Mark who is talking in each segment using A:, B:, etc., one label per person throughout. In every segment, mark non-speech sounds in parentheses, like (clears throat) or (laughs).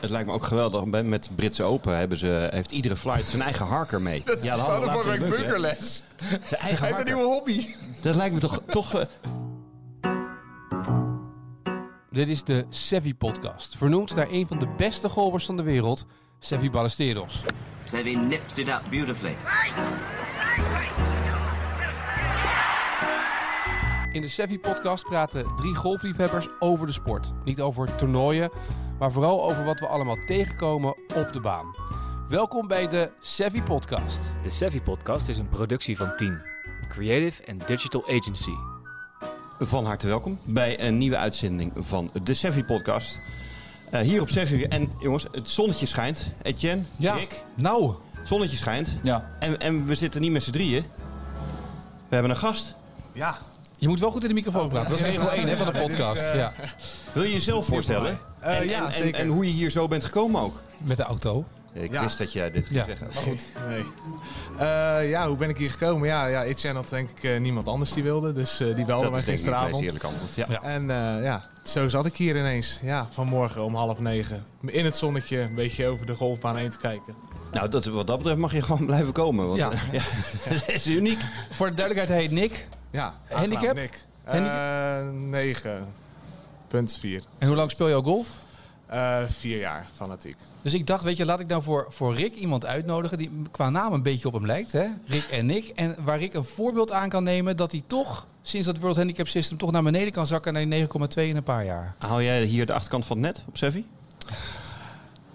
A: Het lijkt me ook geweldig. Bij- Met Britse Open hebben ze, heeft iedere flight zijn eigen harker mee.
B: Dat
C: Ja,
B: ja,
C: dat
B: we
C: hadden we
B: hadden vorige
C: laatst
B: week
C: in Bunker, hè?
B: bunkerles.
A: Zijn
B: Hij
A: eigen
B: heeft
A: harker.
B: een nieuwe hobby.
A: Dat lijkt me toch... toch eh,
C: Dit is de Sevi Podcast, vernoemd naar een van de beste golvers van de wereld, Sevi Ballesteros.
D: Sevi nips it up beautifully.
C: In de Sevi Podcast praten drie golfliefhebbers over de sport. Niet over toernooien, maar vooral over wat we allemaal tegenkomen op de baan. Welkom bij de Sevi Podcast.
E: De Savvy Podcast is een productie van Team, Creative and Digital Agency.
A: Van harte welkom bij een nieuwe uitzending van de Sevi Podcast. Eh, hier op Sevi. En jongens, het zonnetje schijnt. Etienne, Rick,
C: nou.
A: het zonnetje schijnt.
B: Ja.
A: En, en we zitten niet met z'n drieën. We hebben een gast.
B: Ja.
C: Je moet wel goed in de microfoon praten. Dat is eh, regel 1 hè, van de podcast. Oh, (laughs) ja.
A: Wil je jezelf voorstellen?
B: Eh,
A: en,
B: ja,
A: en, en-
B: zeker.
A: En, hoe je hier zo bent gekomen ook.
C: Met de auto.
A: Ik
B: Ja.
A: wist dat jij dit ging
C: Ja.
A: zeggen.
B: Nee. Eh, ja, hoe ben ik hier gekomen? Ja, ja Etienne had denk ik eh, niemand anders die wilde. Dus eh, die belde
A: Dat
B: mij
A: is denk ik niet het meest
B: gisteravond.
A: eerlijke antwoord. Ja.
C: Ja.
B: En eh, ja, zo zat ik hier ineens. Ja, vanmorgen om half negen. In het zonnetje een beetje over de golfbaan heen te kijken.
A: Nou, dat, wat dat betreft mag je (laughs) gewoon blijven komen. Want, eh,
C: Ja.
A: ja. het (laughs) is uniek.
C: Voor de duidelijkheid, hij heet Nick.
B: Ja,
C: Handicap?
B: Eh, Handicap? 9.4.
C: En hoe lang speel je al golf?
B: Eh vier jaar fanatiek.
C: Dus ik dacht, weet je, laat ik nou voor, voor Rick iemand uitnodigen die qua naam een beetje op hem lijkt. Hè? Rick en Nick. En waar Rick een voorbeeld aan kan nemen dat hij toch, sinds dat World Handicap System, toch naar beneden kan zakken naar die 9,2 in een paar jaar.
A: Hou jij hier de achterkant van het net op Sevi?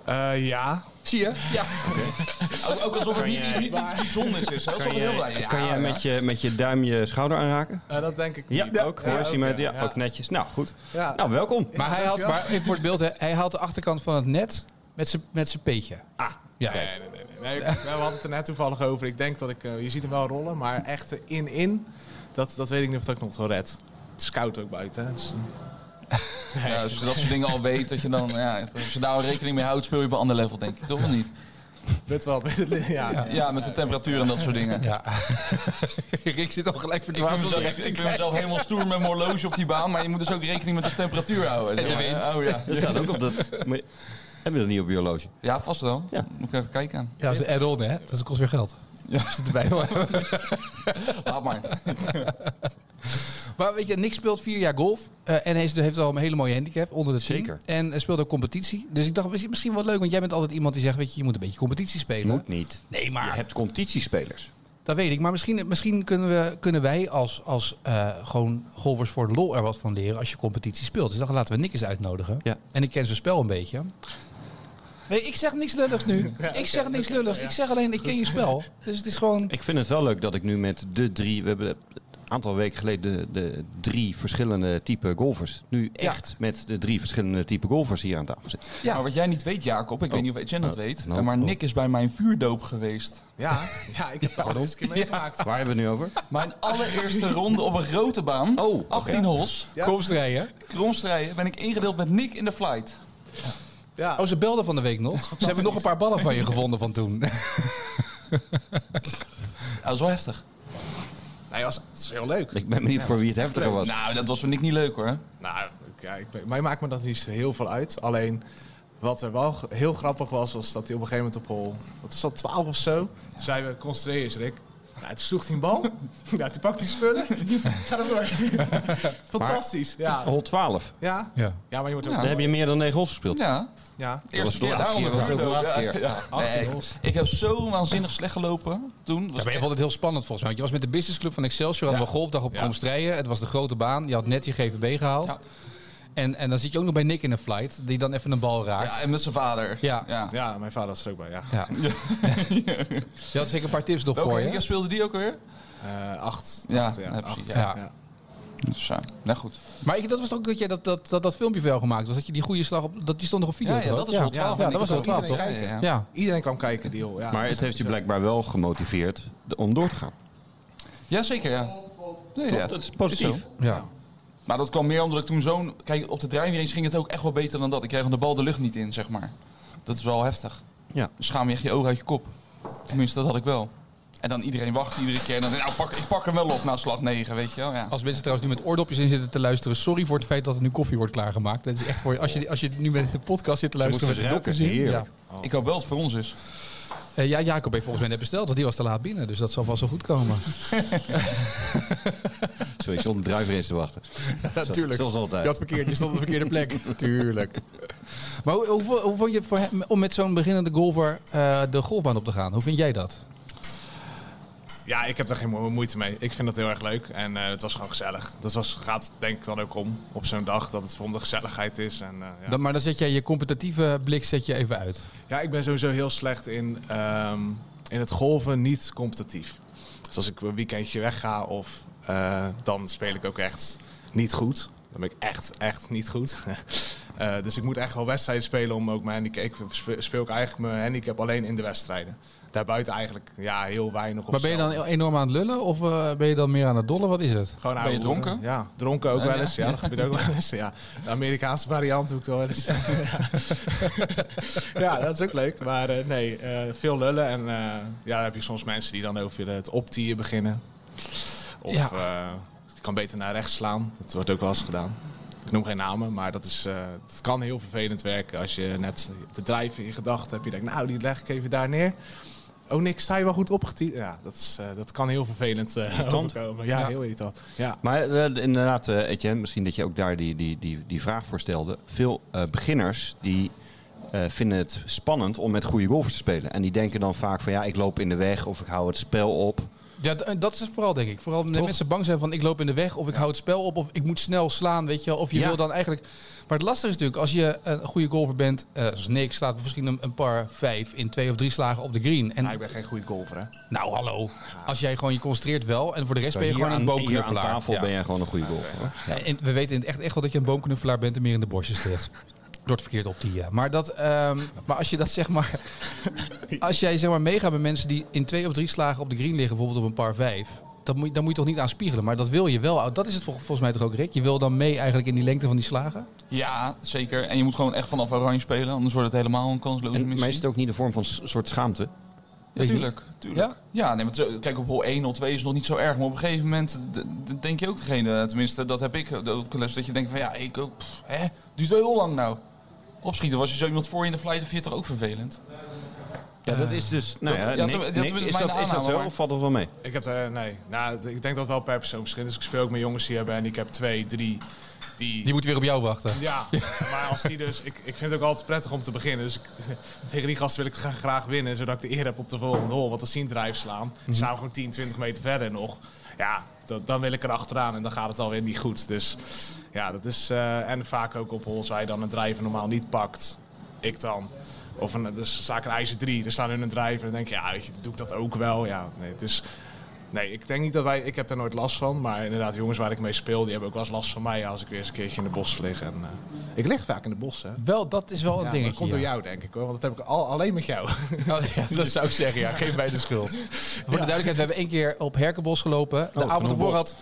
B: Eh, ja.
C: Zie je? Ja.
F: Ook, ook alsof het niet, niet iets bijzonders is. hè? Dat is wel heel blij. Ja,
A: kan jij met, je, met je duim je schouder aanraken?
B: Eh, dat denk ik
A: Ja,
B: niet. eh,
A: ook. Hoor, zie mij- ja, ook netjes. Nou, goed.
B: Ja.
A: Nou, welkom.
C: Maar hij had, maar even voor het beeld, hè, hij haalt de achterkant van het net met zijn met zijn peetje.
A: Ah,
C: Ja.
B: Nee, nee, nee. nee. Nee, we hadden het er net toevallig over. Ik denk dat ik... eh, je ziet hem wel rollen, maar echt eh, in-in, dat, dat weet ik niet of dat ik nog wel red. Het is koud ook buiten. hè. Dus,
F: Ja, als je dat soort dingen al weet, dat je dan, ja, als je daar al rekening mee houdt, speel je op een ander level, denk ik, toch of niet?
B: weet wel, met het, ja.
F: Ja, met de temperatuur en dat soort dingen.
C: Ja. (laughs) Rick zit al gelijk
F: Ik,
C: verdiend.
F: was dus ook- ik ben mezelf helemaal stoer met mijn horloge op die baan, maar je moet dus ook rekening met de temperatuur houden.
C: En de
F: zeg maar.
C: wind.
F: Oh, ja.
A: dat staat ook op dat. (laughs) Maar, hebben we dat niet op je horloge?
F: ja, vast wel.
A: Ja.
F: Moet ik even kijken.
C: Ja, dat is een add-on, hè? Dat kost weer geld. Ja, zit erbij hoor.
F: Laat maar.
C: Maar weet je, Nick speelt vier jaar golf. eh, en hij is- heeft al een hele mooie handicap onder de tien.
A: Zeker.
C: En hij speelt ook competitie. Dus ik dacht, is het misschien wel leuk. Want jij bent altijd iemand die zegt, weet je, je moet een beetje competitie spelen.
A: Moet niet.
C: Nee,
A: Je
C: maar...
A: hebt competitiespelers.
C: Dat weet ik. Maar misschien, misschien kunnen, we, kunnen wij als, als eh, gewoon golfers voor de lol er wat van leren als je competitie speelt. Dus dan laten we Nick eens uitnodigen.
A: Ja.
C: En ik ken zijn spel een beetje. Nee, ik zeg niks lulligs (laughs) nu. ik zeg niks lulligs. Ik zeg alleen, ik ken je spel. Dus het is gewoon...
A: Ik vind het wel leuk dat ik nu met de drie. We hebben een aantal weken geleden de, de drie verschillende type golfers. Nu
C: Ja.
A: echt met de drie verschillende type golfers hier aan tafel zitten. (laughs)
C: Ja.
F: Maar wat jij niet weet, Jacob, ik weet niet of Etienne dat
A: Oh.
F: weet,
A: Nou,
F: maar
A: oh.
F: Nick is bij mijn vuurdoop geweest.
B: Ja, ja, ik heb het al eens een keer meegemaakt.
A: Waar hebben we het nu over?
F: Mijn allereerste ronde op een grote baan,
A: Oh, oké.
F: 18 hols,
B: Ja.
C: Kom strijden.
F: kromstrijden, ben ik ingedeeld met Nick in de flight.
B: Ja.
C: Oh, ze belden van de week nog. Ze hebben nog een paar ballen van je gevonden van toen.
F: Dat is wel heftig.
B: Nee, was, het is heel leuk.
A: Ik ben benieuwd voor wie het heftiger was.
F: Nou, dat was voor Nick niet leuk hoor.
B: Nou, ja, ik, ben- mij maakt me dat niet zo heel veel uit. Alleen, wat er wel g- heel grappig was, was dat hij op een gegeven moment op hol... Wat is dat, 12 of zo? Toen zeiden we, concentreer eens Rick. Nou, toen sloeg hij een (laughs) bal. Ja, toen pakte hij spullen. (laughs) Ga er door. Fantastisch. Ja.
A: Hol 12.
B: Ja.
C: Ja.
B: ja, maar je wordt ook...
F: Ja.
A: Daar heb je meer dan 9 hols gespeeld.
F: Ja,
B: Ja.
A: was de
F: eerste keer.
A: laatste keer,
F: Daarom de
A: was ook de
F: Vuurdoop,
A: laatste
F: ja.
A: keer.
F: Ja. Nee, ik- ik heb zo waanzinnig slecht gelopen toen. Was
C: Ja, maar je vond het heel spannend volgens mij. Want je was met de businessclub van Excelsior, hadden we een golfdag op
B: Ja.
C: Kromstrijen. Het was de grote baan. Je had net je GVB gehaald.
F: Ja.
C: En, en dan zit je ook nog bij Nick in een flight, die dan even een bal raakt.
F: ja, en met zijn vader.
C: Ja.
F: ja.
B: Ja, mijn vader was er ook bij, ja.
C: Ja. Je had zeker een paar tips nog
F: Welke
C: voor
F: liga
C: je.
F: speelde die ook alweer?
B: Eh, acht.
F: Ja,
B: Acht,
F: ja, precies,
B: Acht,
C: ja.
B: ja.
F: Dus ja, nou goed.
C: Maar ik, dat was ook dat jij dat, dat, dat, dat filmpje veel gemaakt was. Dat je die goede slag op. Dat, die stond nog op video.
F: Ja, ja,
C: toch?
F: dat is wel 12.
C: Ja, dat was wel 12, toch?
F: Ja,
C: Ja,
F: ja, ja.
C: ja.
B: Iedereen kwam kijken, die hol. Ja.
A: Maar het heeft je blijkbaar wel gemotiveerd om door te gaan.
F: ja zeker ja. Nee, ja.
A: Dat is positief.
F: Maar dat kwam meer omdat ik toen zo'n... Kijk, op de drijfrace ging het ook echt wel beter dan dat. Ik kreeg aan de bal de lucht niet in, zeg maar. Dat is wel heftig.
A: Ja.
F: Schaam je echt je ogen uit je kop. Tenminste, dat had ik wel. En dan iedereen wacht iedere keer. En dan denk ik, nou, pak, ik pak hem wel op na slag 9, weet je wel. Ja.
C: Als mensen trouwens nu met oordopjes in zitten te luisteren, sorry voor het feit dat er nu koffie wordt klaargemaakt. Dat is echt voor als je, als je nu met de podcast zit te luisteren
A: moeten
C: met
A: ze
C: dopjes
A: ruiken,
C: in. Ja.
A: heerlijk.
F: Ik hoop wel dat het voor ons is.
C: Eh, ja, Jacob heeft volgens mij net besteld, want die was te laat binnen. Dus dat zal vast wel goed komen.
A: Sorry, ik stond een druiver in te wachten.
C: Natuurlijk.
A: Zoals altijd.
C: Je, had verkeerd, je stond op de verkeerde plek. Tuurlijk. Maar hoe, hoe, hoe vond je het voor hem om met zo'n beginnende golfer eh, de golfbaan op te gaan? Hoe vind jij dat?
B: Ja, ik heb daar geen mo- moeite mee. Ik vind dat heel erg leuk en eh, het was gewoon gezellig. Dat was, gaat denk ik dan ook om op zo'n dag, dat het voor de gezelligheid is. En, eh, ja.
C: Dan, maar dan zet jij je competitieve blik zet je even uit.
B: ja, ik ben sowieso heel slecht in, ehm, in het golven, niet competitief. Dus als ik een weekendje wegga of eh, dan speel ik ook echt niet goed. Dan ben ik echt, echt niet goed. (laughs) Eh, dus ik moet echt wel wedstrijden spelen om ook mijn handicap... Ik spe- speel ik eigenlijk mijn handicap alleen in de wedstrijden. Daarbuiten eigenlijk ja, heel weinig. Of
C: Maar ben je
B: zelden.
C: dan e-, enorm aan het lullen of eh, ben je dan meer aan het dollen? Wat is het?
B: Gewoon
F: Ben je
B: oude hoeren.
F: dronken?
B: Ja, dronken ook
F: Oh,
B: wel
F: ja.
B: eens. Ja, dat gebeurt ook wel eens. Ja. De Amerikaanse variant doe ik het wel eens. ja, dat is ook leuk. Maar eh, nee, eh, veel lullen. En eh, ja, dan heb je soms mensen die dan over het optieren beginnen. Of
C: Ja.
B: eh, je kan beter naar rechts slaan. Dat wordt ook wel eens gedaan. Ik noem geen namen, maar dat, is, eh, dat kan heel vervelend werken. Als je net te drijven in je gedachten hebt. Je denkt, nou, die leg ik even daar neer. Oh, niks, sta je wel goed opgetierd? Ja, dat, is, eh, dat kan heel vervelend eh
A: Irritant.
B: overkomen. Ja,
C: Ja.
B: heel irritant. Ja.
A: Maar eh, inderdaad, eh, Etienne, misschien dat je ook daar die, die, die, die vraag voor stelde. Veel eh, beginners die eh, vinden het spannend om met goede golfers te spelen. En die denken dan vaak van ja, ik loop in de weg of ik hou het spel op.
C: Ja, d- dat is het vooral denk ik. Vooral omdat
A: Toch?
C: mensen bang zijn van ik loop in de weg of ik hou het spel op of ik moet snel slaan, weet je wel. Of je
A: Ja.
C: wil dan eigenlijk... Maar het lastige is natuurlijk, als je een goede golfer bent, eh als Nick slaat misschien een, een paar vijf in twee of drie slagen op de green. En
A: Nou,
B: Ja, ik ben geen goede golfer, hè?
C: nou hallo, als jij gewoon je concentreert wel en voor de rest ben je
A: Hier
C: gewoon een
A: aan- hier aan
C: boomknuffelaar.
A: tafel
C: Ja.
A: ben jij gewoon een goede golfer. hoor.
C: En we weten in het echt, echt wel dat je een boomknuffelaar bent en meer in de bosjes ligt. Door het verkeerd op te ja. Maar, dat, ehm, maar als je dat zeg maar. (laughs) Als jij zeg maar meegaat met mensen die in twee of drie slagen op de green liggen, bijvoorbeeld op een par vijf. Dat moet, je- dan moet je toch niet aan spiegelen. Maar dat wil je wel. Dat is het vol- volgens mij toch ook, Rick? Je wil dan mee eigenlijk in die lengte van die slagen?
F: Ja, zeker. En je moet gewoon echt vanaf oranje spelen, anders wordt het helemaal een kansloze
A: En, maar is het
F: missie.
A: ook niet een vorm van s- soort schaamte?
F: Ja, tuurlijk. tuurlijk.
C: Ja?
F: Ja, nee, maar zo- kijk, op hol 1, hol 2 is het nog niet zo erg. Maar op een gegeven moment d- d- denk je ook degene, tenminste dat heb ik eh, ook wel eens, dat je denkt van ja, ik, ook, pff, hè, duurt wel heel lang nou. Opschieten was je zo iemand voor je in de flight of 40 ook
A: (laughs)
F: vervelend.
A: Ja, dat is dus. Nou
F: dat-
A: ja,
F: ja,
A: Nick-
F: dat- dat-
A: Nick,
F: dat-
A: is,
F: mijn
A: dat, is dat
F: aanname,
A: zo
F: maar-
A: of valt dat wel mee?
B: Ik heb daar, nee. Nou, d- ik denk dat wel per persoon verschil is. Dus ik speel ook met jongens die hebben en ik heb twee, drie. Die,
C: Die moet weer op jou wachten.
B: ja, maar als die dus... Ik, ik vind het ook altijd prettig om te beginnen. Dus ik, (laughs) tegen die gasten wil ik gra- graag winnen, zodat ik de eer heb op de volgende hol. Want als die een drijf slaan, staan we gewoon 10, 20 meter verder nog. Ja, dan, dan wil ik er achteraan en dan gaat het alweer niet goed. Dus ja, dat is... eh, en vaak ook op hols waar je dan een drijver normaal niet pakt. Ik dan. Of een, dus zaak een ijzer 3, dan slaan hun een drijver. En dan denk je, ja, weet je, doe ik dat ook wel? Ja, nee, het is... Nee, ik denk niet dat wij... Ik heb daar nooit last van. Maar inderdaad, jongens waar ik mee speel... die hebben ook wel eens last van mij... als ik weer eens een keertje in de bos lig. En, eh, ik lig vaak in de bos, hè?
C: Wel, dat is wel een
B: Ja,
C: dingetje.
B: dat komt door
C: ja.
B: jou, denk ik, hoor. Want dat heb ik al, alleen met jou.
C: Nou, (laughs) ja, dat zou ik zeggen, ja. Geef mij de schuld. Voor de duidelijkheid, we hebben één keer op Herkenbos
F: Oh,
C: gelopen. De, avond, ervoor had,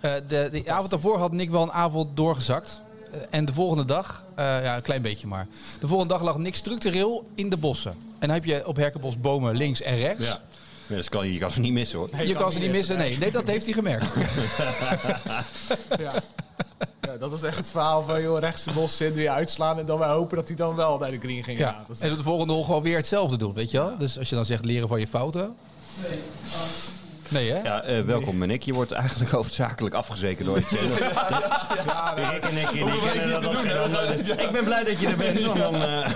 C: eh, de, de avond ervoor had Nick wel een avond doorgezakt. Eh, en de volgende dag, eh, ja, een klein beetje maar. De volgende dag lag Nick structureel in de bossen. En dan heb je op Herkenbos bomen links en rechts.
A: Ja, dat kan, je kan ze niet missen hoor.
C: Je kan ze niet missen, nee. Nee, dat heeft hij
A: (laughs)
C: gemerkt.
B: (laughs) Ja. Ja, dat was echt het verhaal van, joh, rechts de bos in, weer uitslaan... en dan maar hopen dat hij dan wel naar de green ging. Ja,
C: Ja.
B: dat is-
C: En op de volgende hol gewoon weer hetzelfde doen, weet je wel? Dus als je dan zegt leren van je fouten. Nee. hè?
A: Ja, eh, welkom Nick. Je wordt eigenlijk (laughs) hoofdzakelijk afgezeken door (laughs) Etienne. Rick en ik, en ik kennen dat al- dat- Ik ben blij dat je er bent. want Dan, eh,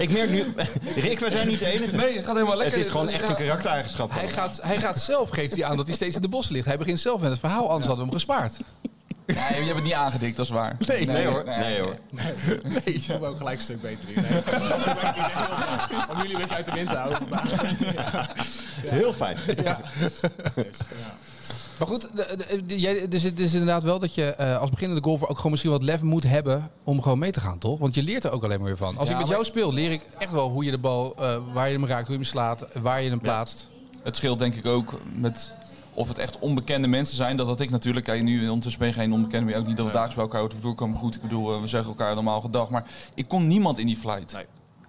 A: (laughs) ik merk nu... Rick, wij zijn niet de enige.
F: Nee, het gaat helemaal lekker.
A: Het is gewoon echt een
F: Ja.
A: karaktereigenschap.
C: Hij gaat, hij gaat zelf, geeft hij aan dat hij steeds in de bos ligt. Hij begint zelf met het verhaal, anders hadden we hem gespaard.
F: Nee, je hebt het niet aangedikt, dat is waar.
A: Nee, nee hoor. Nee, hoor.
B: Nee, ik ben ook gelijk een stuk beter in. hè. (laughs) Om jullie een beetje uit de wind te houden vandaag.
A: Heel fijn.
B: Dus, ja.
C: Maar goed, de- de- de- jij- dus het is inderdaad wel dat je eh, als beginnende golfer ook gewoon misschien wat lef moet hebben om gewoon mee te gaan, toch? Want je leert er ook alleen maar weer van. Als
F: Ja,
C: ik met
F: maar-
C: jou speel, leer ik echt wel hoe je de bal, eh, waar je hem raakt, hoe je hem slaat, waar je hem plaatst.
F: Het scheelt denk ik ook met of het echt onbekende mensen zijn. Dat had ik natuurlijk. Kijk, nu ondertussen ben je geen onbekende meer. Ook niet dat we dagelijks bij elkaar uit de vloer komen. Goed, ik bedoel, eh, we zeggen elkaar normaal gedag. Maar ik kon niemand in die flight.
B: Nee.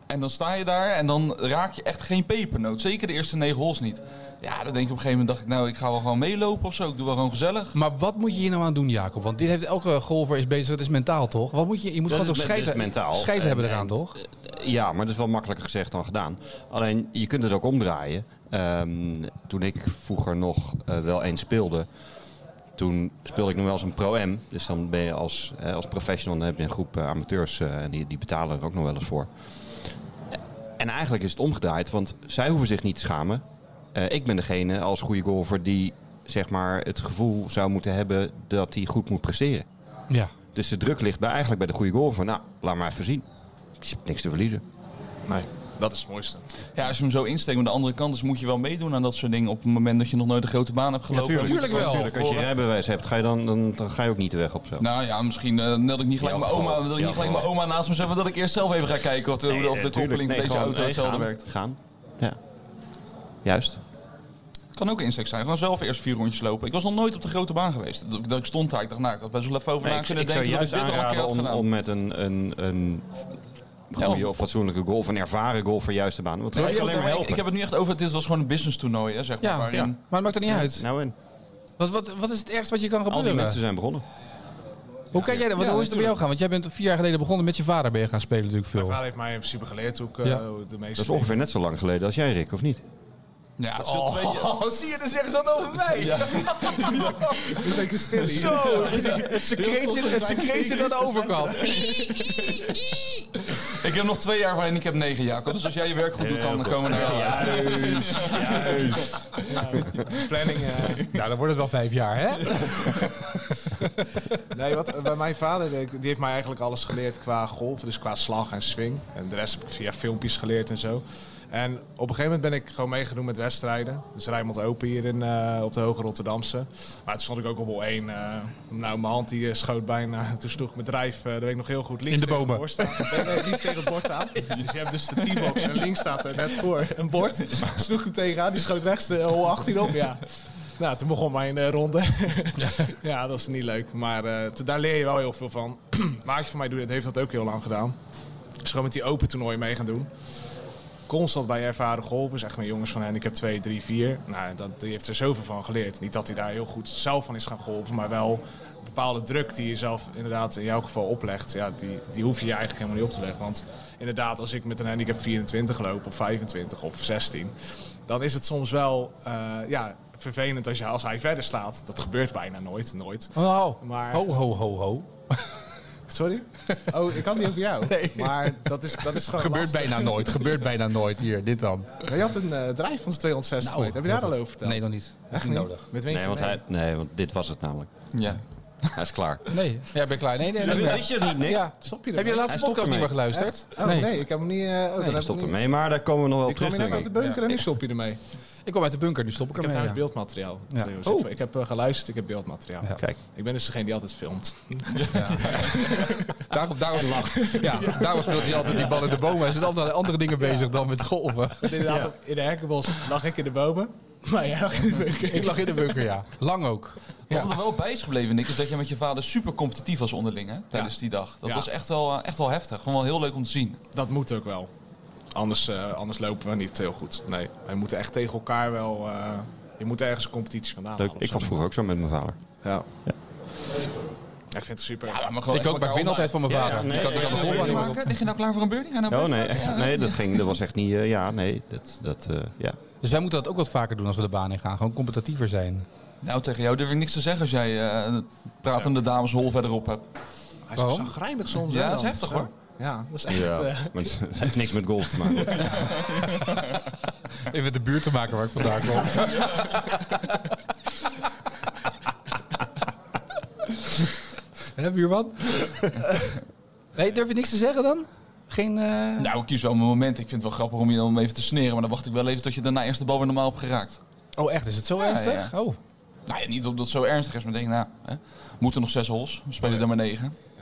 F: En dan sta je daar en dan raak je echt geen pepernoot. Zeker de eerste negen holes niet. Ja, dan denk ik op een gegeven moment, dacht ik, nou, ik ga wel gewoon meelopen of zo. Ik doe wel gewoon gezellig.
C: Maar wat moet je hier nou aan doen, Jacob? Want dit heeft elke golfer is bezig. Dat is mentaal, toch? Wat moet je? Je moet
A: Dat
C: gewoon
A: is
C: toch
A: men- dat is
C: scheiden,
A: mentaal.
C: scheiden
A: En-
C: hebben
A: en-
C: eraan, toch?
A: Ja, maar dat is wel makkelijker gezegd dan gedaan. Alleen, je kunt het ook omdraaien. Ehm, toen ik vroeger nog eh, wel eens speelde, toen speelde ik nog wel eens een pro-am. Dus dan ben je als, eh, als professional, dan heb je een groep eh, amateurs eh, en die, die betalen er ook nog wel eens voor. En eigenlijk is het omgedraaid, want zij hoeven zich niet te schamen. Eh, ik ben degene als goede golfer die zeg maar, het gevoel zou moeten hebben dat hij goed moet presteren.
C: Ja.
A: Dus de druk ligt bij, eigenlijk bij de goede golfer. Nou, laat maar even zien. Ik heb niks te verliezen.
B: Nee, dat is het mooiste.
F: Ja, als je hem zo insteekt, maar de andere kant is, moet je wel meedoen aan dat soort dingen. Op het moment dat je nog nooit de grote baan hebt gelopen.
A: tuurlijk.
F: Dan moet je
C: Tuurlijk wel.
F: gewoon
A: Tuurlijk, als je
F: tevoren-
A: rijbewijs hebt, ga je dan, dan, dan ga je ook niet de weg op zo.
F: Nou ja, misschien eh dat ik niet gelijk,
A: Ja,
F: mijn,
A: gewoon.
F: oma, dat ik
A: Ja,
F: niet gelijk mijn
A: gewoon.
F: oma naast me zet, maar dat ik eerst zelf even ga kijken of de,
A: Nee,
F: of de
A: natuurlijk.
F: koppeling
A: Nee,
F: van deze
A: gewoon,
F: auto
A: nee,
F: hetzelfde
A: gaan.
F: werkt.
A: Gaan. Ja. Juist.
F: kan ook een insect zijn. Gewoon zelf eerst vier rondjes lopen. Ik was nog nooit op de grote baan geweest. Dat, dat ik stond daar. Ik dacht, nou, ik had best wel even over na
A: Nee, ik,
F: kunnen
A: ik zou
F: denken dat ik
A: juist
F: dit al een keer
A: aanraden
F: had
A: om,
F: gedaan.
A: om met een, een, een
F: Ja,
A: goede of fatsoenlijke golf, een ervaren golf voor juiste baan. Want dat
F: Nee,
A: gaat je
F: ik,
A: alleen maar
F: ik,
A: helpen.
F: ik heb het nu echt over, dit was gewoon een business toernooi, hè, zeg maar.
C: Ja,
F: waarin-
C: Maar het maakt er niet uit.
A: Nou en,
C: Wat, wat, wat is het ergste wat je kan
A: al die mensen
C: gebeuren?
A: zijn begonnen.
C: Hoe kijk jij dat? Want
F: Ja,
C: hoe is het bij jou
F: natuurlijk.
C: gaan? Want jij bent vier jaar geleden begonnen met je vader ben je gaan spelen natuurlijk
B: Mijn
C: veel.
B: vader heeft mij in principe geleerd hoe ik eh,
C: Ja.
B: hoe de meeste
A: Dat is ongeveer net zo lang geleden als jij, Rick, of niet?
F: Ja, het scheelt twee jaar.
C: Oh,
B: zie je, dan zeggen ze dat over mij. Ja. is lekker stil hier.
C: Zo, het secreetje het secreetje aan de
B: (laughs)
C: overkant.
A: Oh.
F: Ik heb nog twee jaar waarin ik heb negen, Jacob. Dus als jij je werk goed doet, dan komen we daar. Ja,
B: Planning. eh,
C: (laughs) Nou, dan wordt het wel vijf jaar, hè?
B: Nee, wat, eh, bij mijn vader, eh, die heeft mij eigenlijk alles geleerd qua golf, dus qua slag en swing. En de rest heb ik via filmpjes geleerd en zo. En op een gegeven moment ben ik gewoon meegenomen met wedstrijden. Dus Rijnmond Open hier in, eh, op de Hoge Rotterdamse. Maar toen stond ik ook op hol 1. eh, nou, mijn hand die eh, schoot bijna. (laughs) Toen sloeg mijn drijf, eh dat weet ik nog heel goed, links
C: In de
B: tegen
C: bomen.
B: het bord staan. Nee, nee, links tegen het bord aan. Dus je hebt dus de T-box en links staat er net voor een bord. Sloeg ik hem tegenaan, die schoot rechts de hol 18 op, ja. Nou, toen begon mijn eh, ronde. ja, dat was niet leuk. Maar eh, t- daar leer je wel heel veel van. (clears throat) Maatje van mij doet, het, heeft dat ook heel lang gedaan. Dus gewoon met die open toernooien mee gaan doen. Constant bij ervaren golfers, echt met jongens van handicap 2, 3, 4. Nou, dat, die heeft er zoveel van geleerd. Niet dat hij daar heel goed zelf van is gaan golven, maar wel een bepaalde druk die je zelf inderdaad in jouw geval oplegt. Ja, die, die hoef je je eigenlijk helemaal niet op te leggen. Want inderdaad, als ik met een handicap 24 loop, of 25 of 16, dan is het soms wel eh, ja, vervelend als, je, als hij verder slaat. Dat gebeurt bijna nooit, nooit.
C: Oh,
B: Maar-
C: ho, ho, ho, ho.
B: Sorry? Oh, ik kan niet over (laughs) jou. Maar dat is, dat is gewoon
C: Gebeurt
B: lastig.
C: bijna nooit, gebeurt bijna nooit. Hier, dit dan.
B: Je had een eh, drijf van 260 meter. Heb je daar al over verteld?
C: Nee, dan niet. Dat is
B: Echt
C: niet
B: niet?
C: nodig.
B: Met
A: Nee, want, hij, nee, want dit was het namelijk.
F: ja.
A: Hij is
F: (laughs)
A: klaar.
C: Nee, jij bent klaar. Nee, nee, nee.
A: Weet je het niet, Nick?
C: Ja.
B: Stop je
C: Heb je de
B: ermee?
C: laatste
A: Hij stopt
C: podcast niet meer
A: ermee.
C: geluisterd?
B: Oh, nee. ik heb hem niet... eh, oh, dan heb
A: Hij
B: ik
A: stopt
B: hem niet-
A: ermee, maar daar komen we nog wel
B: Ik
A: op
B: kwam
A: terug,
B: hier net
A: denk
B: uit
A: ik.
B: de bunker en nu stop je ermee.
C: Ik kom uit de bunker, nu stop ik
B: Ik heb
C: ermee.
B: daar
C: ja.
B: beeldmateriaal.
C: Ja.
B: Dus, eh, Ik heb eh, geluisterd, ik heb beeldmateriaal.
A: Kijk.
B: Ik ben dus degene die altijd (laughs) filmt.
C: Daarom, daarom lacht. Ja, daarom speelt hij altijd die bal in de bomen. Hij is met altijd andere dingen bezig dan met
B: (laughs)
C: golven.
B: Inderdaad, in de herkenbos lag ik in de bomen. Maar jij lag in de bunker.
C: Ik lag in de bunker, ja. Lang ook.
F: Wat er wel bij is gebleven, Nick, is dat jij met je vader super competitief was onderling hè, tijdens die dag. Dat
B: Ja.
F: was echt wel, eh, echt wel heftig. Gewoon wel heel leuk om te zien.
B: Dat moet ook wel. Anders, eh, anders lopen we niet heel goed. Nee, wij moeten echt tegen elkaar wel... eh, je moet ergens een competitie vandaan
A: Leuk.
B: halen of
A: Ik
B: zo.
A: was vroeger ook zo met mijn vader.
B: Ja. Ik vind het super.
F: maar gewoon
C: Ik ook, maar ik win altijd van mijn vader.
A: ja, nee,
C: ik had, ik had een
F: Een
C: golf
F: birdie maken? Lig je nou klaar voor een birdie? Ga je nou
A: Oh
F: birdie
A: nee,
F: maken?
A: echt, nee dat, ging, dat was echt niet... eh, ja, nee, dat... dat eh, ja.
C: Dus wij moeten dat ook wat vaker doen als we de baan in gaan. Gewoon competitiever zijn.
F: Nou, tegen jou durf ik niks te zeggen als jij eh, een pratende dameshol verderop hebt.
B: Hij is
C: Waarom?
B: zo zagrijnig soms.
F: Ja,
B: hè,
F: dat is
B: dan.
F: heftig,
B: Zo.
F: hoor.
B: Ja, dat is echt...
A: Ja.
B: eh,
A: Maar het heeft niks met golf te maken.
C: Even met de buurt te maken waar ik vandaan
B: (laughs)
C: kom. Hè, buurman? nee, durf je niks te zeggen dan? Geen... eh,
F: Nou, ik kies wel mijn moment. Ik vind het wel grappig om je dan even te sneren. Maar dan wacht ik wel even tot je daarna eerst de bal weer normaal hebt geraakt.
C: Oh, echt? Is het zo ernstig? Oh.
F: Nou ja, niet omdat het zo ernstig is, maar ik denk, nou, hè, moeten nog zes hols. We spelen er maar negen.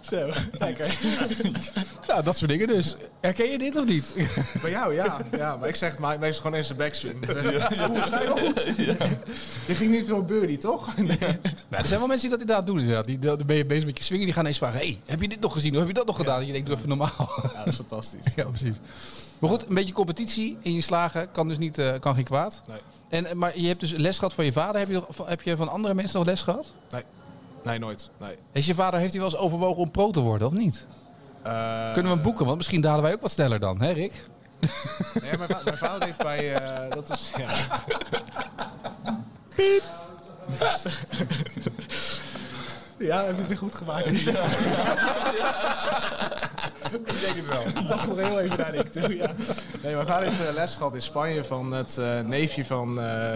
B: Zo, lekker.
C: Nou, dat soort dingen dus. Herken je dit of niet?
B: Bij jou, ja. ja. Maar ik zeg het maar, meestal gewoon in zijn backstream. Oeh, zei wel goed. Je ging niet voor birdie, toch?
C: Maar Nou, er zijn wel mensen die dat inderdaad doen. Inderdaad. Die, dan ben je bezig met je swingen. Die gaan eens vragen. hey, heb je dit nog gezien? Of heb je dat nog gedaan? En je denkt, doe even normaal.
B: Ja, dat is fantastisch.
C: (laughs) ja, precies. Maar goed, een beetje competitie in je slagen kan dus niet, eh, kan geen kwaad.
B: Nee.
C: En, eh, maar je hebt dus les gehad van je vader. Heb je, nog- van- heb je van andere mensen nog les gehad?
B: Nee, nooit. Nee.
C: Is je vader, heeft hij wel eens overwogen om pro te worden of niet?
B: Eh,
C: Kunnen we hem boeken? Want misschien dalen wij ook wat sneller dan, hè Rick?
B: Nee, mijn, va- mijn vader heeft bij... eh, dat is... Ja. Ja, heb je het weer goed gemaakt? ik denk het wel. Ik dacht nog heel even naar Nick toe, ja. Nee, mijn vader heeft eh, les gehad in Spanje van het eh, neefje van eh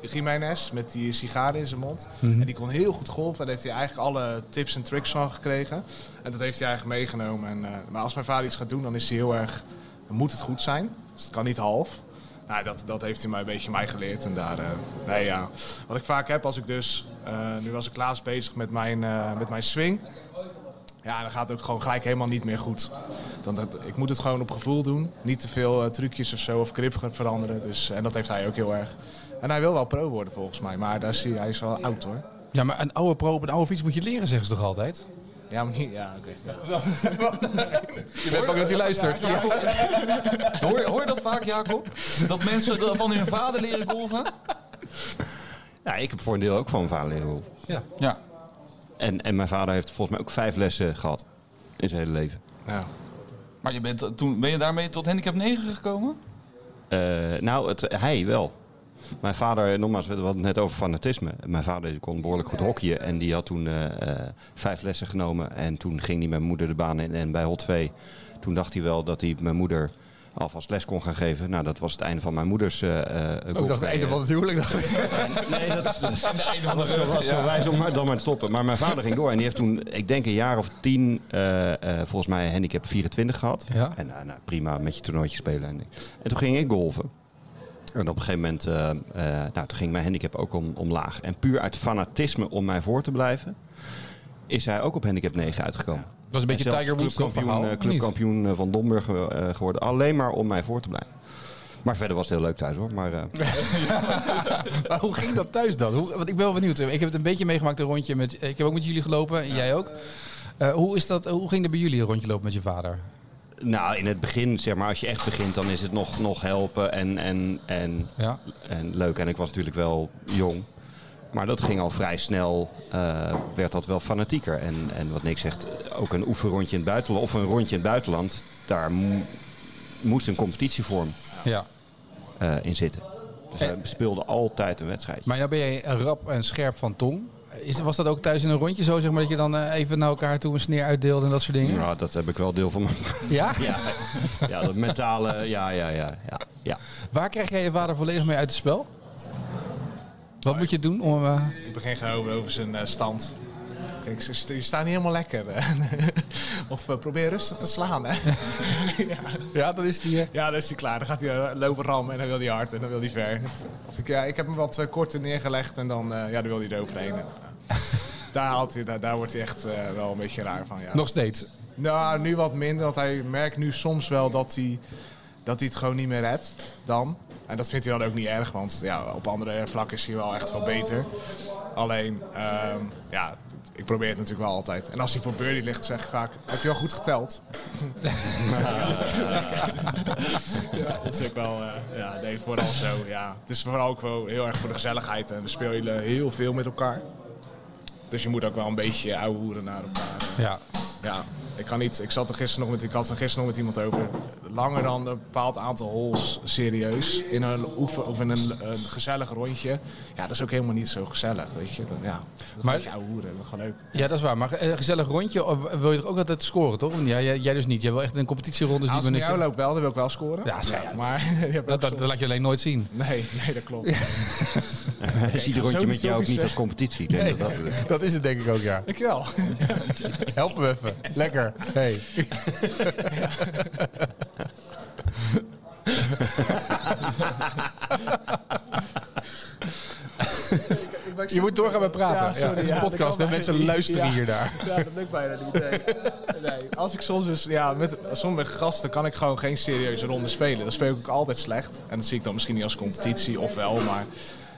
B: Jiménez met die sigaren in zijn mond. En die kon heel goed golven en daar heeft hij eigenlijk alle tips en tricks van gekregen. En dat heeft hij eigenlijk meegenomen. En, eh, maar als mijn vader iets gaat doen, dan is hij heel erg... Dan moet het goed zijn, dus het kan niet half. Nou, dat, dat heeft hij mij een beetje mij geleerd. En daar, eh, nee, ja. Wat ik vaak heb als ik dus... eh, nu was ik laatst bezig met mijn, eh, met mijn swing. Ja, dan gaat het ook gewoon gelijk helemaal niet meer goed. Dan, dat, ik moet het gewoon op gevoel doen. Niet te veel eh, trucjes of zo of grip gaan veranderen. Dus, en dat heeft hij ook heel erg. En hij wil wel pro worden volgens mij, maar daar zie je, hij is wel oud hoor.
C: Ja, maar een oude pro op een oude fiets moet je leren, zeggen ze toch altijd?
B: Ja, maar niet. Ja, oké.
C: Je bent bang dat hij luistert.
F: Hoor, hoor je dat vaak, Jacob? Dat mensen de- van hun vader leren golven?
A: Ja, ik heb voor een deel ook van mijn vader leren golven.
F: Ja.
A: En, en mijn vader heeft volgens mij ook vijf lessen gehad in zijn hele leven.
B: Ja.
F: Maar je bent, eh, toen, ben je daarmee tot handicap 9 gekomen?
A: Eh, nou, het, hij wel. Mijn vader, nogmaals, we hadden het net over fanatisme. Mijn vader kon behoorlijk goed hockeyen en die had toen eh, eh, vijf lessen genomen. En toen ging hij met mijn moeder de baan in en bij Hot 2. Toen dacht hij wel dat hij mijn moeder alvast les kon gaan geven. Nou, dat was het einde van mijn moeders eh eh,
C: Ik dacht,
A: golfcarrière.
C: het einde van het huwelijk. dacht ik.
A: Nee, dat is anders zo, was zo wijs om maar, dan maar te stoppen. Maar mijn vader ging door en die heeft toen, ik denk een jaar of tien, eh, eh, volgens mij handicap 24 gehad.
C: Ja.
A: En nou, nou, prima, met je toernooitje spelen. En, en toen ging ik golven. En op een gegeven moment, eh, eh, nou, toen ging mijn handicap ook om, omlaag. En puur uit fanatisme om mij voor te blijven, is hij ook op handicap 9 uitgekomen.
C: Dat was een beetje
A: En zelfs
C: Tiger Woods toch
A: clubkampioen,
C: verhaal?
A: eh,
C: of niet?
A: clubkampioen eh, van Domburg eh, eh, geworden. Alleen maar om mij voor te blijven. Maar verder was het heel leuk thuis hoor. Maar, eh,
C: Maar hoe ging dat thuis dan? Hoe, want ik ben wel benieuwd. eh, Ik heb het een beetje meegemaakt, een rondje met... Ik heb ook met jullie gelopen, en jij ook. Eh, hoe, is dat, hoe ging er bij jullie een rondje lopen met je vader?
A: Nou, in het begin, zeg maar, als je echt begint, dan is het nog, nog helpen en, en, en,
C: Ja.
A: en leuk. En ik was natuurlijk wel jong. Maar dat ging al vrij snel, eh, werd dat wel fanatieker. En, en wat Nick zegt, ook een oefenrondje in het buitenland of een rondje in het buitenland, daar mo- moest een competitievorm
C: ja.
A: eh, in zitten. Dus we speelden altijd een wedstrijd.
C: Maar nou ben jij rap en scherp van tong. Is, was dat ook thuis in een rondje zo, zeg maar, dat je dan eh, even naar elkaar toe een sneer uitdeelde en dat soort dingen?
A: Ja, dat heb ik wel deel van mijn.
C: Ja?
A: Ja, ja dat mentale. Ja, ja, ja, ja. ja.
C: Waar krijg jij je vader volledig mee uit het spel? Wat moet je doen om... hem, eh,
B: Ik begin gehouden over zijn eh, stand. Ik denk, ze- ze- je staat niet helemaal lekker. hè. (laughs) of eh, probeer rustig te slaan. (laughs) Hè.
C: ja, dat is die... eh,
B: Ja, dan is hij klaar. Dan gaat hij eh, lopen rammen en dan wil hij hard en dan wil hij ver. Of ik, ja, ik heb hem wat eh, korter neergelegd en dan, eh, ja, dan wil hij eroverheen. En, eh, daar, haalt hij, daar, daar wordt hij echt eh, wel een beetje raar van. Ja.
C: Nog steeds.
B: Nou, nu wat minder, want hij merkt nu soms wel dat hij, dat hij het gewoon niet meer redt dan. En dat vindt hij dan ook niet erg, want ja, op andere vlakken is hij wel echt wel beter. Alleen, ehm, ja, t- ik probeer het natuurlijk wel altijd. En als hij voor birdie ligt, zeg ik vaak, heb je wel goed geteld? (laughs) ja, dat is ook wel, eh, ja, nee, vooral zo, ja. Het is vooral ook wel heel erg voor de gezelligheid en we spelen heel veel met elkaar. Dus je moet ook wel een beetje ouwe hoeren naar elkaar.
C: Ja.
B: Ja, ik kan niet. Ik zat er gisteren nog met. Ik had er gisteren nog met iemand over. Langer dan een bepaald aantal holes serieus in een oefen of in een, een gezellig rondje. Ja, dat is ook helemaal niet zo gezellig, weet je. Dan, ja, dat
C: Maar-
B: maar, ouwe hoeren, dat is gewoon leuk.
C: ja, dat is waar. Maar eh, een gezellig rondje eh, wil je toch ook altijd scoren, toch? Ja, jij, jij dus niet. Jij wil echt een competitieronde.
B: Als
C: die
B: het
C: we
B: met
C: net-
B: jou loopt wel, dan wil ik wel scoren.
C: Ja, schei
B: (laughs)
C: uit.
B: maar je hebt
C: dat,
B: ook
C: dat, dat
B: soms-
C: laat je alleen nooit zien.
B: nee, nee, dat klopt.
A: Is ieder rondje
B: zo
A: met jou ook niet
B: filmpjes,
A: als competitie? Ik denk dat dat is.
C: Dat is het denk ik ook, ja.
B: Dankjewel.
C: (laughs) Help me even. Lekker. Hey.
B: ik ben ik
C: Je
B: zit-
C: moet doorgaan met praten.
B: Ja,
C: Ja,
B: sorry,
C: het is
B: ja,
C: een
B: dat
C: podcast
B: kan
C: en mensen
B: bijna niet.
C: luisteren
B: Ja.
C: hier daar.
B: Ja, dat lukt bijna niet. Nee. Nee. Als ik soms dus, ja, met sommige gasten kan ik gewoon geen serieuze ronde spelen. Dat speel ik ook altijd slecht. En dat zie ik dan misschien niet als competitie, of wel, maar.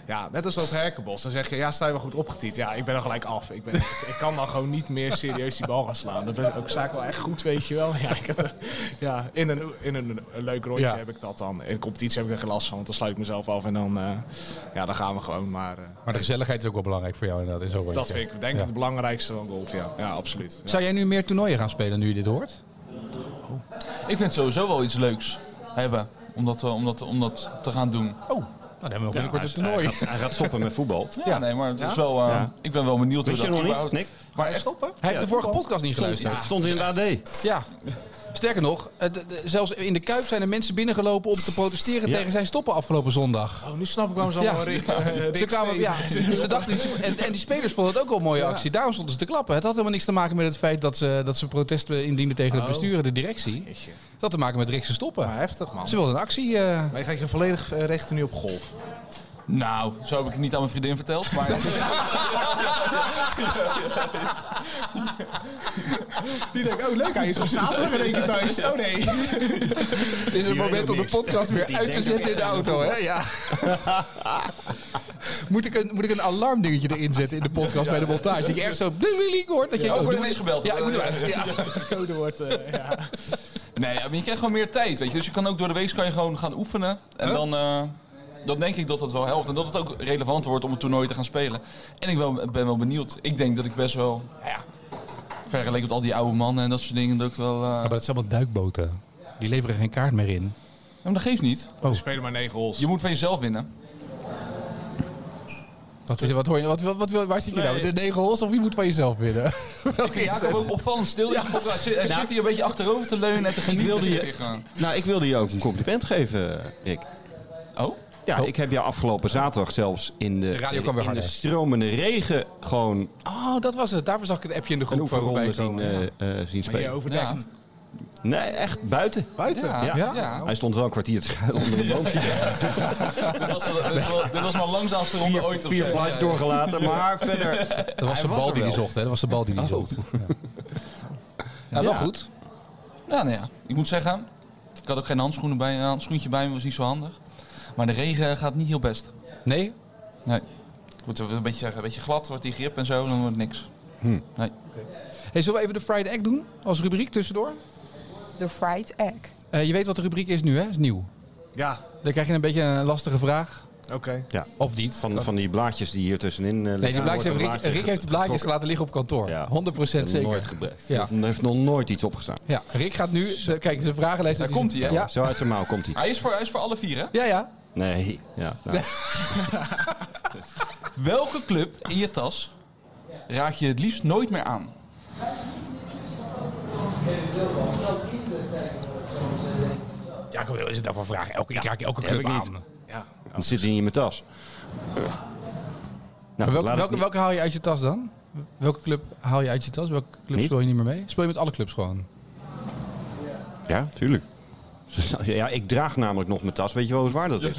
B: Ja, net als op Herkenbos. Dan zeg je, ja, sta je wel goed opgetiet. Ja, ik ben er gelijk af. Ik, ben, ik, ik kan dan gewoon niet meer serieus die bal gaan slaan. Dat was ook zaak wel echt goed, weet je wel. Ja, ik had er- ja in, een, in een, een leuk rondje
C: Ja.
B: heb ik dat dan. In de competitie heb ik er geen last van, want dan sluit ik mezelf af. En dan, eh, ja, dan gaan we gewoon. Maar eh,
C: Maar de gezelligheid is ook wel belangrijk voor jou inderdaad. In zo'n
B: dat
C: rondje.
B: vind ik denk ik
C: Ja.
B: het belangrijkste van golf. Ja, ja absoluut.
C: Zou jij nu meer toernooien gaan spelen nu je dit hoort?
F: Ik vind het sowieso wel iets leuks hebben. Om dat, eh, om dat, om dat te gaan doen.
C: Oh, nou, dan hebben we nog binnenkort een
A: hij,
C: toernooi.
A: gaat, hij gaat stoppen met voetbal.
F: Ja, nee, maar het is wel, eh,
A: Ja.
F: ik ben wel benieuwd hoe
A: Weet je
F: dat
A: nog niet,
F: überhaupt-
A: Nick?
F: Maar echt,
C: Hij heeft de vorige podcast niet geluisterd.
A: Het stond in de AD.
C: Ja. Sterker nog, eh, de- de- zelfs in de Kuip zijn er mensen binnengelopen om te protesteren
A: Ja.
C: tegen zijn stoppen afgelopen zondag.
B: Oh, nu snap ik waarom ze
C: Ja.
B: allemaal Rick, eh, Rick
C: Ze kwamen,
B: Steen.
C: ja, ze
B: (laughs)
C: dachten, en, en die spelers vonden het ook wel een mooie actie. Daarom stonden ze te klappen. Het had helemaal niks te maken met het feit dat ze, dat ze protesten indienden tegen het
B: Oh.
C: bestuur en de directie. Het
B: Jeetje.
C: had te maken met Rickse
B: Ja,
C: stoppen.
B: Nou, heftig man.
C: Ze wilden een actie. eh,
B: Maar je gaat je volledig eh, richten nu op golf.
F: nou, zo heb ik het niet aan mijn vriendin verteld. Maar
B: Die denkt, oh leuk, hij is op zaterdag in één keer thuis. Oh nee.
C: Het is het
A: Die
C: moment
A: weet
C: om de
A: niks.
C: podcast (laughs) weer
A: Die
C: uit te
A: denkt
C: zetten in de auto, hè? Ja. (laughs) moet, ik een, moet ik een alarmdingetje erin zetten in de podcast bij de montage? Dat je echt zo... hoort. Dat je,
F: Oh, ik word
C: nu
F: ineens
C: moet-
F: gebeld. Eh,
C: Ja, ik moet eruit. Ja.
B: Code wordt, eh, ja.
F: nee, ja, maar je krijgt gewoon meer tijd. Weet je. Dus je kan ook door de week kan je gewoon gaan oefenen. En dan, eh, dan denk ik dat dat wel helpt. En dat het ook relevanter wordt om het toernooi te gaan spelen. En ik wel, ben wel benieuwd. Ik denk dat ik best wel, nou ja, vergeleken met al die oude mannen en dat soort dingen, dat ik wel... eh,
C: Maar dat zijn allemaal duikboten. Die leveren geen kaart meer in.
F: maar dat geeft niet.
B: We spelen maar negen holes.
F: Je moet van jezelf winnen.
C: Wat, is, wat hoor je? Wat, wat, wat, waar zit je nou? De negen hols of je moet van jezelf (laughs) winnen? Welke is
F: Jacob
C: het?
F: ook opvallend stil. Ja. Hij zit, hij zit hier een beetje achterover te leunen en te genieten.
A: wilde
F: zit
A: je-
F: hij gewoon.
A: Nou, ik wilde je ook een compliment geven, Rick.
F: Oh?
A: Ja,
C: Oh.
A: ik heb jou afgelopen zaterdag zelfs in de,
C: De radio kwam weer
A: in de
C: harder.
A: stromende regen gewoon
C: Oh, dat was het. Daarvoor zag ik het appje in de
A: een
C: groep voorbij
A: oefenronde zien,
C: komen.
A: eh, eh, zien
B: Maar je
A: spelen.
B: overdekt.
A: Nee, echt buiten.
C: Oh.
B: Buiten?
F: Ja.
A: Ja.
C: Ja?
F: Ja.
A: Hij stond wel een kwartier te schuilen onder een boompje.
C: (laughs)
F: Dit was, wel- dit was wel- dit was mijn langzaamste ronde ooit. of
A: Vier
F: zo.
A: flights doorgelaten, maar
C: (laughs)
A: verder...
C: Dat was de
A: Hij was
C: bal
A: er
C: die hij
A: wel.
C: zocht, hè? Dat was de bal die hij zocht. Ja, wel goed.
F: Ja, nou ja, ik moet zeggen, ik had ook geen handschoenen bij, een handschoentje bij me, was niet zo handig. Maar de regen gaat niet heel best.
C: Nee?
F: Moet we een beetje zeggen, een beetje glad wordt die grip en zo, dan wordt het niks.
C: Hey, zullen we even de Friday Egg doen? Als rubriek tussendoor?
G: De fried egg.
C: Eh, je weet wat de rubriek is nu, hè? Is nieuw.
B: Ja,
C: Dan krijg je een beetje een lastige vraag.
B: oké.
C: Of niet.
A: Van, van die blaadjes die hier tussenin eh, liggen.
C: nee, die blaadjes
A: Wordt
C: heeft
A: een
C: Rick,
A: blaadje
C: Rick heeft de blaadjes laten liggen op kantoor.
A: Ja.
C: 100% zeker.
A: Nooit gebruikt.
C: Ja.
A: Er heeft nog nooit iets opgestaan.
C: Ja, Rick gaat nu... de- Kijk, zijn vragenlijst...
F: Daar
C: dat hij-
F: komt hij, hè?
C: Ja.
A: Zo uit zijn mouw komt hij.
F: Hij is voor, hij is voor alle vier, hè?
C: Ja, ja.
A: Nee. Ja, nou,
F: Welke club in je tas raak je het liefst nooit meer aan?
C: Jacob, is het daarvoor vragen? Elke, ik raak elke club
A: ik niet.
C: aan.
A: dan zit hij niet in mijn tas. Nou,
C: Maar welke,
A: laat
C: welke,
A: ik niet-
C: welke haal je uit je tas dan? Welke club haal je uit je tas? Welke club
A: Niet?
C: speel je niet meer mee? Speel je met alle clubs gewoon?
A: Ja, tuurlijk. (laughs) Ja, ik draag namelijk nog mijn tas. Weet je wel hoe zwaar dat is?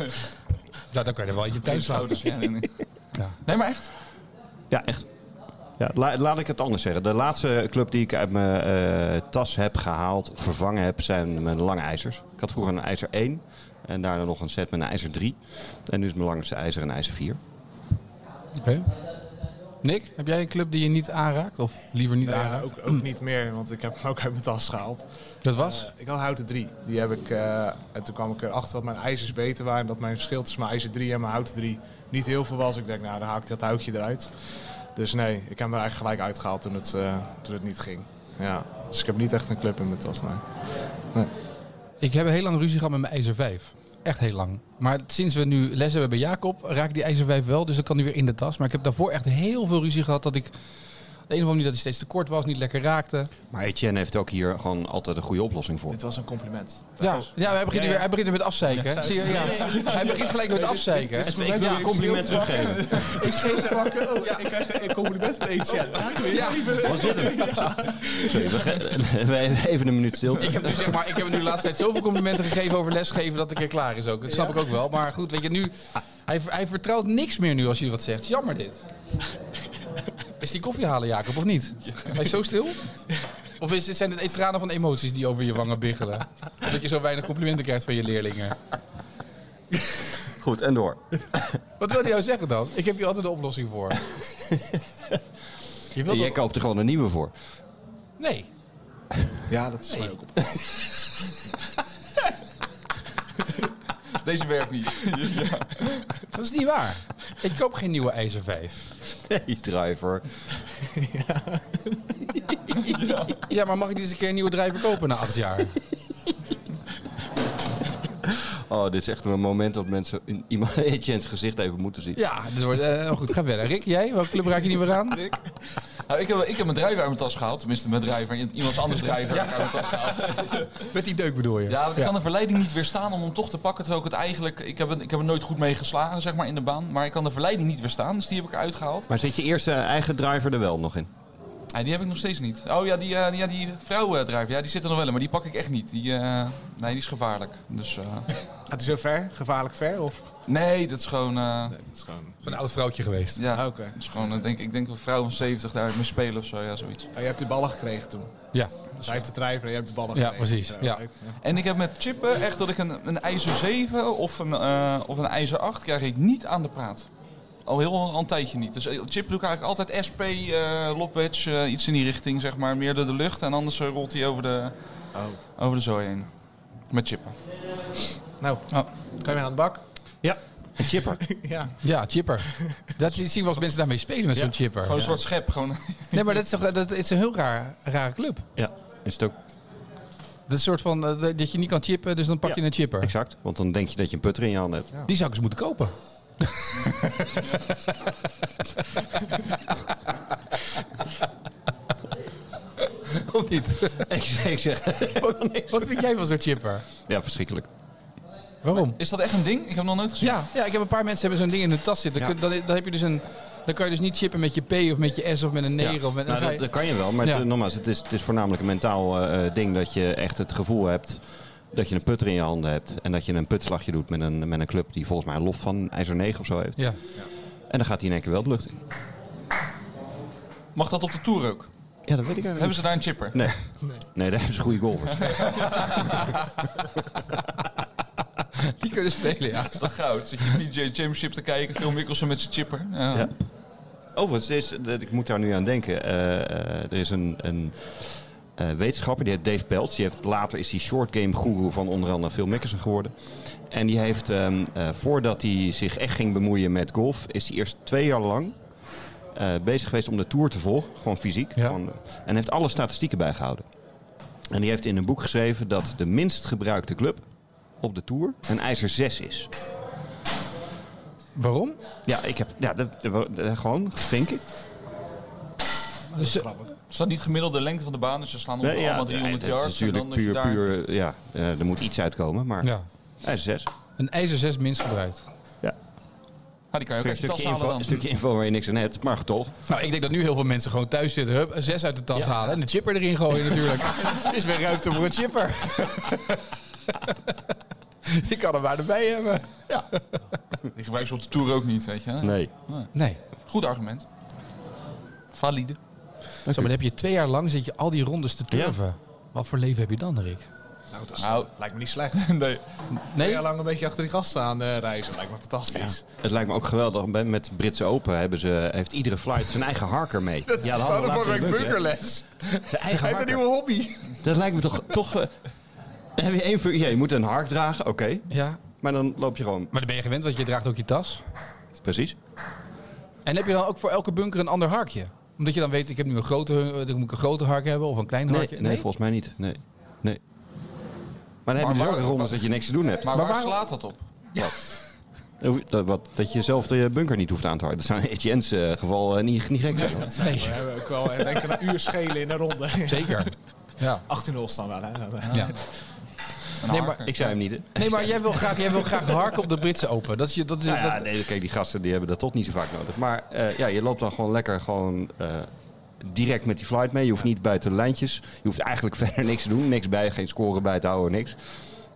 C: Nou, dan kan je er wel in je tuin slaan.
F: Schouders, ja, nee, nee.
C: Ja.
F: nee, maar echt.
A: Ja, echt. Ja, la- laat ik het anders zeggen. De laatste club die ik uit mijn eh, tas heb gehaald, vervangen heb, zijn mijn lange ijzers. Ik had vroeger een ijzer 1 en daarna nog een set met een ijzer 3. En nu is mijn langste ijzer een ijzer 4.
C: Oké. Nick, heb jij een club die je niet aanraakt? Of liever niet
B: Nou ja,
C: aanraakt?
B: ook, ook niet meer, want ik heb hem ook uit mijn tas gehaald.
C: Dat was?
B: Ik had houten 3. Die heb ik. eh, en toen kwam ik erachter dat mijn ijzers beter waren. Dat mijn verschil tussen mijn ijzer 3 en mijn houten 3 niet heel veel was. Ik denk, nou, dan haal ik dat houtje eruit. Dus nee, ik heb hem er eigenlijk gelijk uitgehaald toen het, eh, toen het niet ging. Ja. Dus ik heb niet echt een club in mijn tas. Nee.
C: Ik heb heel lang ruzie gehad met mijn ijzer 5. Echt heel lang. Maar sinds we nu les hebben bij Jacob, raak ik die ijzer 5 wel. Dus dat kan nu weer in de tas. Maar ik heb daarvoor echt heel veel ruzie gehad dat ik... op De ene of andere manier dat hij steeds te kort was, niet lekker raakte.
A: Maar Etienne heeft ook hier gewoon altijd een goede oplossing voor.
B: Dit was een compliment.
C: Ja, ja hij,
B: Ja,
C: begint
B: ja.
C: Weer, hij begint weer met afzeiken. hè? Zie je, ja. Hij begint gelijk met afzeiken. hè?
A: Ik wil een compliment teruggeven.
B: Ik schreef ze pakken. Oh, ik krijg een compliment van Etienne.
C: Ja.
A: Wat zit hem? Sorry, (laughs) we ge- we- even een minuut stilte.
C: Ik heb, nu, zeg maar, ik heb hem nu de laatste tijd zoveel complimenten gegeven over lesgeven dat ik er klaar is ook. Dat snap ik ook wel. Maar goed, weet je, nu, Hij, hij vertrouwt niks meer nu als je wat zegt. Jammer dit. Is die koffie halen, Jacob, of niet? Hij is zo stil? Of is, dit- zijn het tranen van emoties die over je wangen biggelen? Dat je zo weinig complimenten krijgt van je leerlingen.
A: Goed, en door.
C: Wat wilde jou zeggen dan? Ik heb hier altijd de oplossing voor. Je wilt
A: Jij
C: dat-
A: koopt er gewoon een nieuwe voor.
C: Nee.
B: Ja, dat is mij ook op.
F: Deze werkt niet. ja.
C: Dat is niet waar. Ik koop geen nieuwe IJzer 5.
A: Nee, driver.
C: Ja, maar mag ik eens een keer een nieuwe drijver kopen na acht jaar?
A: Oh, dit is echt een moment dat mensen in iemand (laughs) Etienne's gezicht even moeten zien.
C: Ja, dat wordt eh, goed. Ga verder. Rick, jij? Welke club raak je niet meer aan?
F: Nou, ik, heb, ik heb mijn drijver uit mijn tas gehaald. Tenminste, mijn drijver. Iemand anders drijver uit mijn tas gehaald.
C: Met die deuk bedoel je?
F: Ja, want ik kan de verleiding niet weerstaan om hem toch te pakken. Terwijl ik het eigenlijk... Ik heb, het, ik heb er nooit goed mee geslagen, zeg maar, in de baan. Maar ik kan de verleiding niet weerstaan. Dus die heb ik eruit gehaald.
A: Maar zit je eerste eigen driver er wel nog in?
F: Ja, die heb ik nog steeds niet. Oh ja, die, eh, die- ja, die vrouwendrijver. Ja, die zit er nog wel in. Maar die pak ik echt niet. Die, eh, nee, die is gevaarlijk. Dus... eh,
B: Gaat hij zo ver? Gevaarlijk ver? Of?
F: nee, dat is gewoon... eh,
B: Nee, dat is gewoon...
C: Van een oud vrouwtje geweest.
F: ja,
B: Oké.
F: dat is gewoon... eh, denk, ik denk dat een vrouw van 70 daar mee spelen of zo. Ja, zoiets.
B: Oh, je hebt die ballen gekregen toen.
C: Ja.
B: Dus hij heeft de drijver en jij hebt de ballen
C: Ja,
B: gekregen.
C: precies, ja.
B: leuk.
F: En ik heb met chippen echt dat ik een, een ijzer 7 of een, eh, of een ijzer 8 krijg ik niet aan de praat. Al heel al een tijdje niet. Dus eh, chippen doe ik eigenlijk altijd SP, eh lopwedge, eh, iets in die richting zeg maar. Meer door de lucht en anders eh, rolt hij over de,
A: Oh.
F: over de zooi heen. Met chippen.
B: Nou,
C: Oh.
B: kan je weer aan de bak?
A: Ja. Een chipper.
B: Ja.
C: (laughs) Ja, chipper. Dat is- zien we als mensen daarmee spelen met zo'n chipper.
F: Gewoon een soort schep. Gewoon, (laughs)
C: Nee, maar dat is, toch, dat is een heel raar, rare club.
A: ja. Is het ook
C: Dat is een soort van eh, dat je niet kan chippen, dus dan pak je een chipper.
A: exact? Want dan denk je dat je een putter in je hand hebt.
C: Die zou ik eens moeten kopen. of niet?
A: ik, ik zeg...
C: Wat, wat vind jij van zo'n chipper?
A: Ja, verschrikkelijk.
C: Waarom?
F: is dat echt een ding? Ik heb hem nog nooit gezien.
C: Ja, ja, ik heb een paar mensen hebben zo'n ding in de tas zitten. Dan, kun- dan, dan heb je dus een, dan kan je dus niet chippen met je P of met je S of met een 9. of met, dan
A: Nou,
C: ga
A: dat,
C: je-
A: dat kan je wel, maar
C: Ja.
A: het- nogmaals, het is, het is voornamelijk een mentaal eh, eh, ding dat je echt het gevoel hebt dat je een putter in je handen hebt. En dat je een putslagje doet met een, met een club die volgens mij een lof van IJzer 9 of zo heeft.
C: ja.
A: (laughs) En dan gaat hij in één keer wel de lucht in.
F: Mag dat op de Tour ook?
A: Ja, dat weet ik eigenlijk
F: Hebben ze daar een chipper?
A: Nee. nee. daar hebben ze goede golfers.
C: Die kunnen spelen, ja.
F: Dat is toch goud? Zit je PJ Championship te kijken, Phil Mickelson met zijn chipper. Ja.
A: Ja. Overigens, er is, dat- ik moet daar nu aan denken. Eh, eh, er is een, een eh, wetenschapper, die heet Dave Peltz. Die heeft, later is hij short game guru van onder andere Phil Mickelson geworden. En die heeft, ehm, eh, voordat hij zich echt ging bemoeien met golf, is hij eerst twee jaar lang eh, bezig geweest om de Tour te volgen. Gewoon fysiek.
C: Ja.
A: Gewoon, eh, en heeft alle statistieken bijgehouden. En die heeft in een boek geschreven dat de minst gebruikte club op de Tour een ijzer 6 is.
C: Waarom?
A: Ja, ik heb, ja, dat, dat- dat- gewoon, vinken.
C: Dus, eh,
F: Is dat niet gemiddelde lengte van de baan? Dus ze slaan op
A: Nee,
F: allemaal
A: nee,
F: 300
A: het
F: yards.
A: is
F: en
A: natuurlijk
F: dan dat je
A: puur,
F: daar...
A: puur, ja, eh, er moet iets uitkomen, maar
C: ja.
A: hij is zes.
C: Een ijzer 6 minst gebruikt.
A: Ja.
F: Ah, die kan je ook
A: Een,
F: echt in
A: stukje
F: je tas halen
A: info,
F: dan.
A: een stukje info waar je niks aan hebt, maar toch.
C: Nou, ik denk dat nu heel veel mensen gewoon thuis zitten. Hup, een 6 uit de tas halen en de chipper erin gooien (laughs) natuurlijk. is weer ruimte voor een chipper. (laughs) je kan hem maar erbij hebben. Ja.
F: Die gebruiken ze op de Tour ook niet, weet je. hè?
A: Nee.
C: Nee.
F: Goed argument. Valide.
C: Zo, maar dan heb je twee jaar lang zit je al die rondes te turven. Wat voor leven heb je dan, Rick?
B: Nou, dat is-
F: Nou.
B: lijkt me niet slecht.
F: nee.
B: Twee
C: Nee?
B: jaar lang een beetje achter die gasten aan eh, reizen. Lijkt me fantastisch.
A: Het lijkt me ook geweldig, bij- met Britse Open hebben ze, heeft iedere flight zijn eigen harker mee. ja, dat hadden we laatst in Luik, hè. Zijn eigen harker.
B: hobby.
A: Dat lijkt me toch... toch eh, dan heb je één functie, ja, je moet een hark dragen, oké.
C: Ja.
A: Maar dan loop je gewoon,
C: Maar dan ben je gewend, want je draagt ook je tas.
A: precies.
C: En heb je dan ook voor elke bunker een ander harkje? Omdat je dan weet, ik heb nu een grote, eh, dan moet ik een grote hark hebben of een klein
A: Nee,
C: harkje.
A: nee, volgens mij niet. Nee. nee. Maar dan heb je dus
F: waar-
A: ook rondes dat je niks te doen hebt.
F: Maar, waar,
C: waarom-
F: slaat dat op?
A: Dat hoef- Dat, wat, dat je zelf de eh, bunker niet hoeft aan te houden. Dat zou in Etienne's eh, geval eh, niet, niet gek zijn.
C: Nee,
B: We hebben ook wel eh, denk ik een uur schelen in een ronde. (laughs)
C: zeker. (laughs) Ja.
B: 18 0 staan wel, hè? eh,
C: ja.
F: Een
C: Nee, maar
F: harker.
A: Ik zei hem niet, hè?
C: Nee, maar jij wil graag, jij wil graag harken op de Britse Open. Dat is, je- dat is,
A: Nou ja,
C: dat-
A: nee, kijk, die gasten die hebben dat toch niet zo vaak nodig. Maar eh, ja, je loopt dan gewoon lekker gewoon, eh, direct met die flight (laughs) mee. Je hoeft niet buiten de lijntjes. Je hoeft eigenlijk verder niks te doen. Niks bij, geen scoren bij te houden, niks.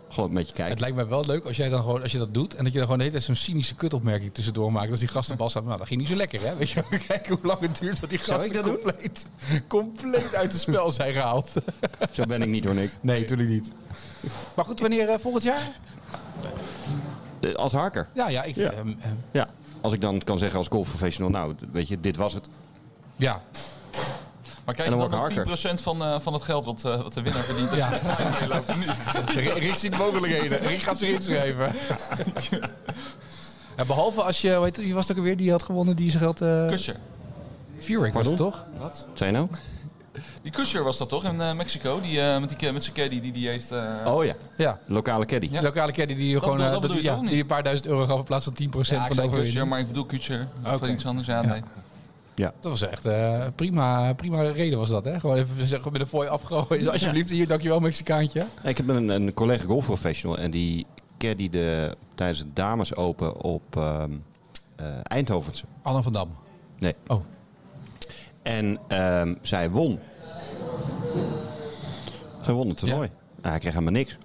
A: Gewoon een beetje kijken.
C: Het lijkt mij wel leuk als jij dan gewoon, als je dat doet en dat je dan gewoon de hele tijd zo'n cynische kutopmerking tussendoor maakt. Als die gasten bal staat, nou dat ging niet zo lekker hè. Weet je, wel. (laughs) kijken hoe lang het duurt dat die
A: Zou
C: gasten
A: ik dat doen?
C: compleet, compleet uit het spel zijn gehaald. (laughs)
A: Zo ben ik niet hoor, Nick.
C: Nee, natuurlijk niet. Maar goed, wanneer eh, volgend jaar?
A: (laughs) Eh, Als harker.
C: Ja, ja, ik,
A: Ja.
C: ehm, ehm,
A: Ja. Als ik dan kan zeggen als golfprofessional, nou, d- weet je, dit was het.
C: ja.
F: Maar krijg
A: En
F: je
A: dan
F: dan ook
A: wordt
F: 10%
A: het
F: van, eh, van het geld wat, eh, wat de winnaar verdient? als
C: Ja. (laughs)
F: je de final meeloopt? Nu-
C: Rick Rick ziet mogelijkheden. Rick gaat zich inschrijven. (laughs) En behalve als je, hoe heet het, wie was het ook alweer die had gewonnen die zijn geld... eh
F: Kusher.
C: Vierik was het toch?
A: Zijn nou?
F: Die Kusher was dat toch in eh, Mexico? Die, eh, met, die, met zijn caddy die die heeft... eh,
A: Oh ja,
C: Ja.
A: lokale caddy.
C: De lokale caddy die gewoon
F: bedoel-
C: eh,
F: dat
C: dat-
F: bedoel je
C: ja,
F: toch niet?
C: die een paar duizend euro gaf in plaats van 10%
F: ja, ik
C: van de
F: zei Kusher,
C: overwinning.
F: maar ik bedoel Kutcher. Of
C: Oké.
F: iets anders. Ja,
C: Ja.
F: nee.
C: Dat was echt eh, prima, prima reden was dat, hè? Gewoon even zeggen, met een fooi afgooien. Alsjeblieft, hier, dankjewel Mexicaantje.
A: Ik heb een, een collega golfprofessional en die caddy de, tijdens het dames open op ehm eh, Eindhovense.
C: Anne van Dam.
A: Nee.
C: Oh.
A: En ehm, zij won. Zij won het toernooi. Nou, hij kreeg helemaal niks.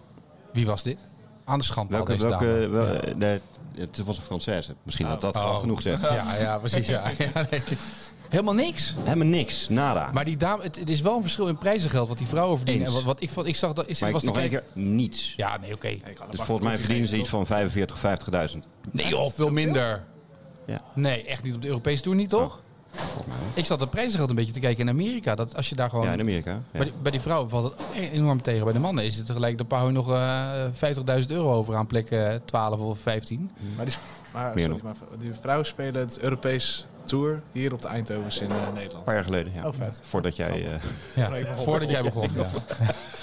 C: Wie was dit? Aan de schand.
A: Welke,
C: deze
A: welke,
C: dame.
A: wel- eh, nee, het was een Française. Misschien dat dat al
C: Oh.
A: genoeg zegt.
C: (laughs) Ja, ja, precies. Ja. (laughs) Ja, nee. Helemaal niks.
A: Helemaal niks, nada.
C: Maar die dame, het, het is wel een verschil in prijzengeld wat die vrouwen verdienen.
A: Eens.
C: En wat, wat ik, vond, ik zag dat. Is,
A: Maar ik
C: was
A: nog
C: de
A: één
C: kijk-
A: keer, niets.
C: Ja, nee, oké.
A: Dus volgens mij verdienen ze iets van 45, 50.000.
C: Nee, joh, veel minder.
A: Ja.
C: Nee, echt niet op de Europese toer niet, toch? Ik zat dat prijzengeld een beetje te kijken in Amerika. Dat als je daar gewoon
A: Ja, in Amerika. Ja.
C: Bij, die, bij die vrouwen valt het enorm tegen. Bij de mannen is het tegelijk. Dan pauw je nog eh 50.000 euro over aan plek eh, 12 of 15.
B: Maar, die, sp- maar,
A: Meer
B: sorry, maar die vrouwen spelen het Europees Tour hier op de Eindhovens in eh, Nederland.
A: Een paar jaar geleden, ja.
B: Oh, vet.
A: Voordat jij... eh,
C: Ja,
B: ik begon.
C: voordat jij begon. (laughs) Ja.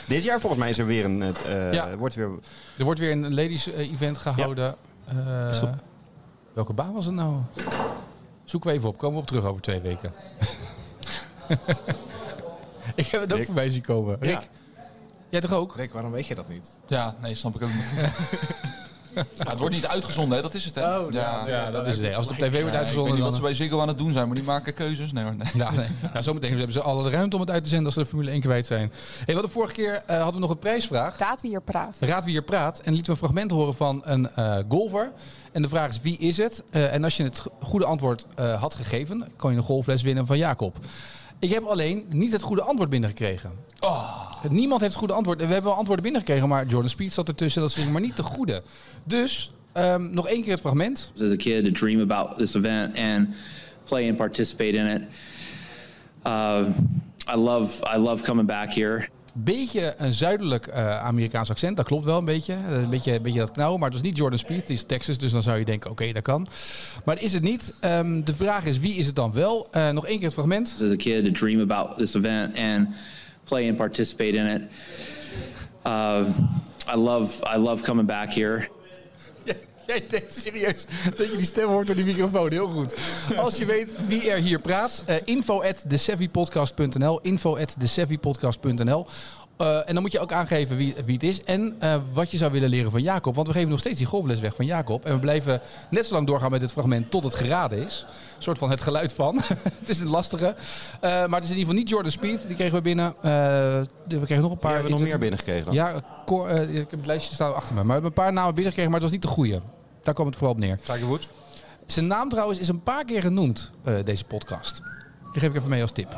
A: dit jaar volgens mij is er weer een... eh,
C: Ja.
A: Wordt weer...
C: Er wordt weer een ladies eh, event gehouden. Eh,
A: Is dat-
C: welke baan was het nou? Zoeken we even op. Komen we op terug over twee weken. (laughs) ik heb het ook
A: Rick.
C: voorbij zien komen. Rick, jij toch ook?
B: Rick, waarom weet je dat niet?
F: Ja, nee, snap ik ook niet. Ja, het wordt niet uitgezonden, hè? dat is het. Hè?
B: Oh, ja, nee.
C: Ja, dat is het. Als het op tv wordt
F: Ja, ik weet
C: uitgezonden...
F: niet wat
C: dan-
F: ze bij Ziggo aan het doen zijn, maar die maken keuzes. Nee, hoor, nee.
C: (laughs) Ja, nee. nou, zometeen hebben ze alle ruimte om het uit te zenden als ze de Formule 1 kwijt zijn. Hey, we hadden vorige keer eh, hadden we nog een prijsvraag.
G: Raad wie hier praat.
C: Raad wie hier praat. En lieten we een fragment horen van een eh, golfer. En de vraag is, wie is het? Eh, en als je het go- goede antwoord eh, had gegeven, kon je een golfles winnen van Jacob. Ik heb alleen niet het goede antwoord binnengekregen. Niemand heeft het goede antwoord. En We hebben wel antwoorden binnengekregen, maar Jordan Speed zat ertussen. Dat ging maar niet de goede. Dus, ehm, nog één keer het fragment.
H: as a kid to dream about this event and play and participate in it. Uh, I love I love coming back here.
C: Beetje een zuidelijk eh, Amerikaans accent, dat klopt wel een beetje. Eh, Een beetje, een beetje dat knauwen, maar het was niet Jordan Speed, het is Texas, dus dan zou je denken, oké, dat kan. Maar dat is het niet. Ehm, de vraag is, wie is het dan wel? Eh, nog één keer het fragment.
H: As a kid to dream about this event and play and participate in it. Uh, I love I love coming back here.
C: (laughs) Jij denkt serieus dat je die stem hoort door die microfoon. Heel goed. Als je weet wie er hier praat, eh info at thesavvypodcast.nl. Info at thesavvypodcast.nl. Eh, en dan moet je ook aangeven wie, wie het is en eh, wat je zou willen leren van Jacob. Want we geven nog steeds die golfles weg van Jacob. En we blijven net zo lang doorgaan met dit fragment tot het geraden is. Een soort van het geluid van. (laughs) het is een lastige. Eh, maar het is in ieder geval niet Jordan Speed. Die kregen we binnen. Eh, we kregen nog een
A: Waar
C: paar.
A: hebben we nog meer binnengekregen dan?
C: Ja, Cor- eh, ik heb het lijstje staan achter me. Maar we hebben een paar namen binnengekregen, maar het was niet de goede. Daar kwam het vooral op neer.
A: Tiger Woods.
C: Zijn naam trouwens is een paar keer genoemd, eh, deze podcast. Die geef ik even mee als tip.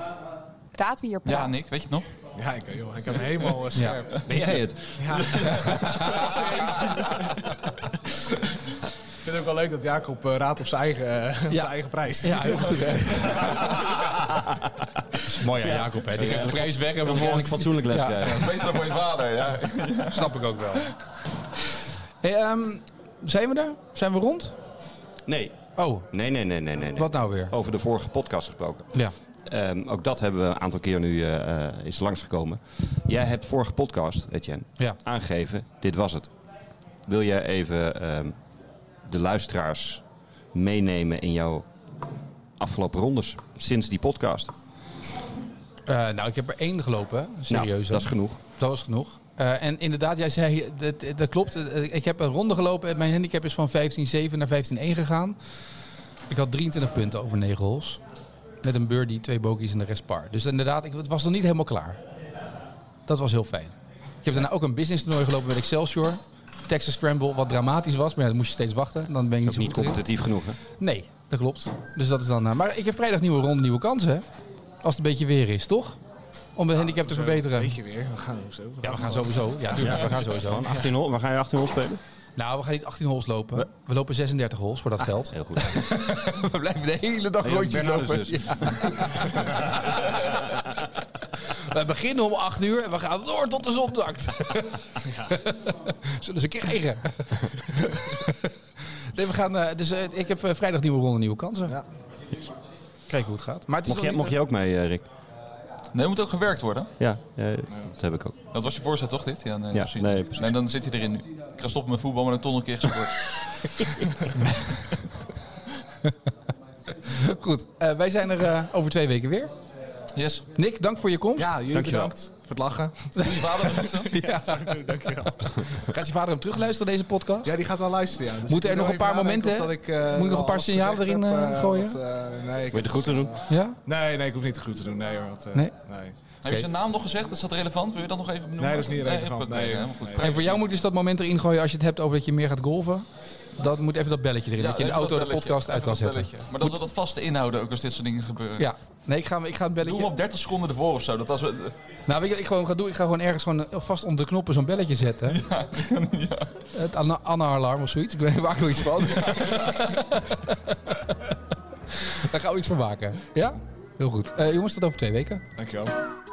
G: Raad wie hier praat.
F: Ja, Nick, weet je het nog?
B: Ja, ik, joh, ik heb hem helemaal eh, scherp.
A: Ben jij het?
B: Ik vind het ook wel leuk dat Jacob eh, raadt op zijn eigen, eh, op
C: Ja.
B: zijn eigen prijs. (laughs)
C: Ja, heel goed. (laughs) Dat is mooi aan Jacob, hè. Die geeft de prijs weg en
A: Volgende ik
C: vervolgens...
A: fatsoenlijk les
C: Ja.
A: krijgen.
F: Dat is beter dan voor je vader, ja.
C: Snap ik ook wel. Hey, ehm, zijn we er? Zijn we rond?
A: Nee.
C: Oh,
A: Nee, nee, nee, nee, nee. nee.
C: wat nou weer?
A: Over de vorige podcast gesproken.
C: Ja.
A: Ehm, ook dat hebben we een aantal keer nu eh, eh, is langsgekomen. Jij hebt vorige podcast, Etienne,
C: Ja.
A: aangegeven, dit was het. Wil jij even ehm, de luisteraars meenemen in jouw afgelopen rondes sinds die podcast? Nou,
C: Eh, nou, ik heb er één gelopen. hè. Serieus.
A: Nou,
C: hè.
A: dat is genoeg.
C: Dat was genoeg. Eh, en inderdaad, jij zei, dat, dat klopt. Eh, Ik heb een ronde gelopen. en Mijn handicap is van 15-7 naar 15-1 gegaan. Ik had 23 punten over 9 holes. Met een birdie, twee bogies en de rest par. Dus inderdaad, ik, het was nog niet helemaal klaar. Dat was heel fijn. Ik heb daarna ook een business toernooi gelopen met Excelsior. Texas Scramble, wat dramatisch was. Maar ja, dan moest je steeds wachten. Dan ben je niet zo
A: Niet
C: goed erin.
A: competitief genoeg, hè?
C: Nee, dat klopt. Dus dat is dan. eh, maar ik heb vrijdag nieuwe ronde, nieuwe kansen. hè? Als het een beetje weer is, toch? Om de handicap te verbeteren.
B: Weet je weer, we gaan zo.
C: Ja, we gaan sowieso. Ja, tuurlijk, we gaan sowieso.
A: Gewoon 18 hol. Waar ga je 18 hol spelen?
C: Nou, we gaan niet 18 holes lopen. We Ah, lopen 36 holes voor dat geld. (laughs)
A: Heel goed.
F: We blijven de hele dag rondjes
A: Bernardus
F: lopen.
A: dus.
C: We beginnen om 8 uur en we gaan door tot de zon (laughs) zakt. Zullen ze krijgen. (laughs) nee, we gaan, eh, dus eh, ik heb eh, vrijdag nieuwe ronde, nieuwe kansen.
B: Ja.
C: Kijken hoe het gaat. Maar het is
A: Mocht, jij,
C: nog
A: mocht jij
C: niet,
A: ook mee, eh, Rick?
F: Nee, er moet ook gewerkt worden.
A: Ja, eh, dat heb ik ook.
F: Dat was je voorzet toch, dit? Ja, nee,
A: Ja,
F: precies.
A: nee, precies.
F: Nee, dan zit hij erin nu. Ik ga stoppen met voetbal, maar dan toch nog een keer gesport.
C: eh, Goed, Eh, wij zijn er eh, over twee weken weer.
F: Yes.
C: Nick, dank voor je komst.
B: Ja, jullie
A: Dankjewel.
B: bedankt voor het lachen.
F: Doe je vader een
C: (laughs)
F: groeten.
C: Gaat je vader hem terugluisteren, deze podcast?
B: Ja, die gaat wel luisteren. Ja. Dus
C: Moeten
B: ik
C: er nog
B: moet
C: een paar
B: even nadenken
C: momenten,
B: of dat ik, eh,
C: Moet je nog
B: wel
C: een paar
B: alles
C: signalen
B: gezegd
C: erin,
B: heb,
C: eh, gooien?
B: wat, eh, nee,
A: Wil je
B: ik
A: de
B: heb-
A: groeten doen?
C: Ja?
B: Nee, nee, ik hoef niet de goed te doen. Nee hoor. Wat, eh,
C: Nee?
B: nee.
F: Heb je zijn naam nog gezegd? Is dat relevant? Wil je dat nog even benoemen?
B: Nee, dat is niet relevant.
F: oké,
B: Nee,
F: helemaal goed.
B: nee.
C: En voor jou moet dus dat moment erin gooien als je het hebt over dat je meer gaat golven. Dat moet even dat belletje erin,
F: Ja,
C: dat je in de
F: even
C: auto de
F: belletje.
C: podcast uit
F: Even
C: kan
F: dat
C: zetten.
F: belletje. Maar dat we dat vast inhouden ook als dit soort dingen gebeuren.
C: Ja, nee, ik ga, ik ga het
F: Doe hem
C: belletje.
F: op 30 seconden ervoor of zo. Dat als we,
C: Nou, weet je wat ik gewoon ga doen? Ik ga gewoon ergens gewoon eh, vast onder de knoppen zo'n belletje zetten.
F: (laughs)
C: Het Anna- Anna-alarm of zoiets. Ik weet niet waar ik nog iets van. (laughs) Daar gaan we iets van maken. Ja? Heel goed. Eh, jongens, tot over twee weken.
B: Dankjewel.